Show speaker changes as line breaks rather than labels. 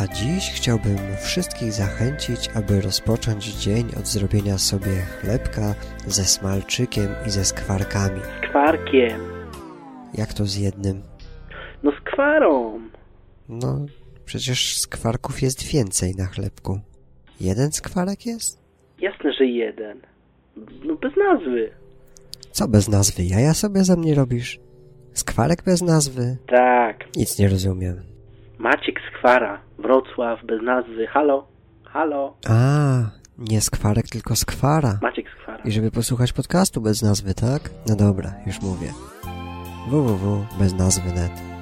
A dziś chciałbym wszystkich zachęcić, aby rozpocząć dzień od zrobienia sobie chlebka ze smalczykiem i ze skwarkami.
Z kwarkiem.
Jak to z jednym?
No z kwarą.
No, przecież skwarków jest więcej na chlebku. Jeden skwarek jest?
Jasne, że jeden. No bez nazwy.
Co bez nazwy? Jaja sobie ze mnie robisz? Skwarek bez nazwy?
Tak.
Nic nie rozumiem.
Maciek z kwara. Wrocław bez nazwy. Halo? Halo?
A, nie skwarek, tylko skwara.
Maciek z kwara.
I żeby posłuchać podcastu bez nazwy, tak? No dobra, już mówię. www.beznazwy.net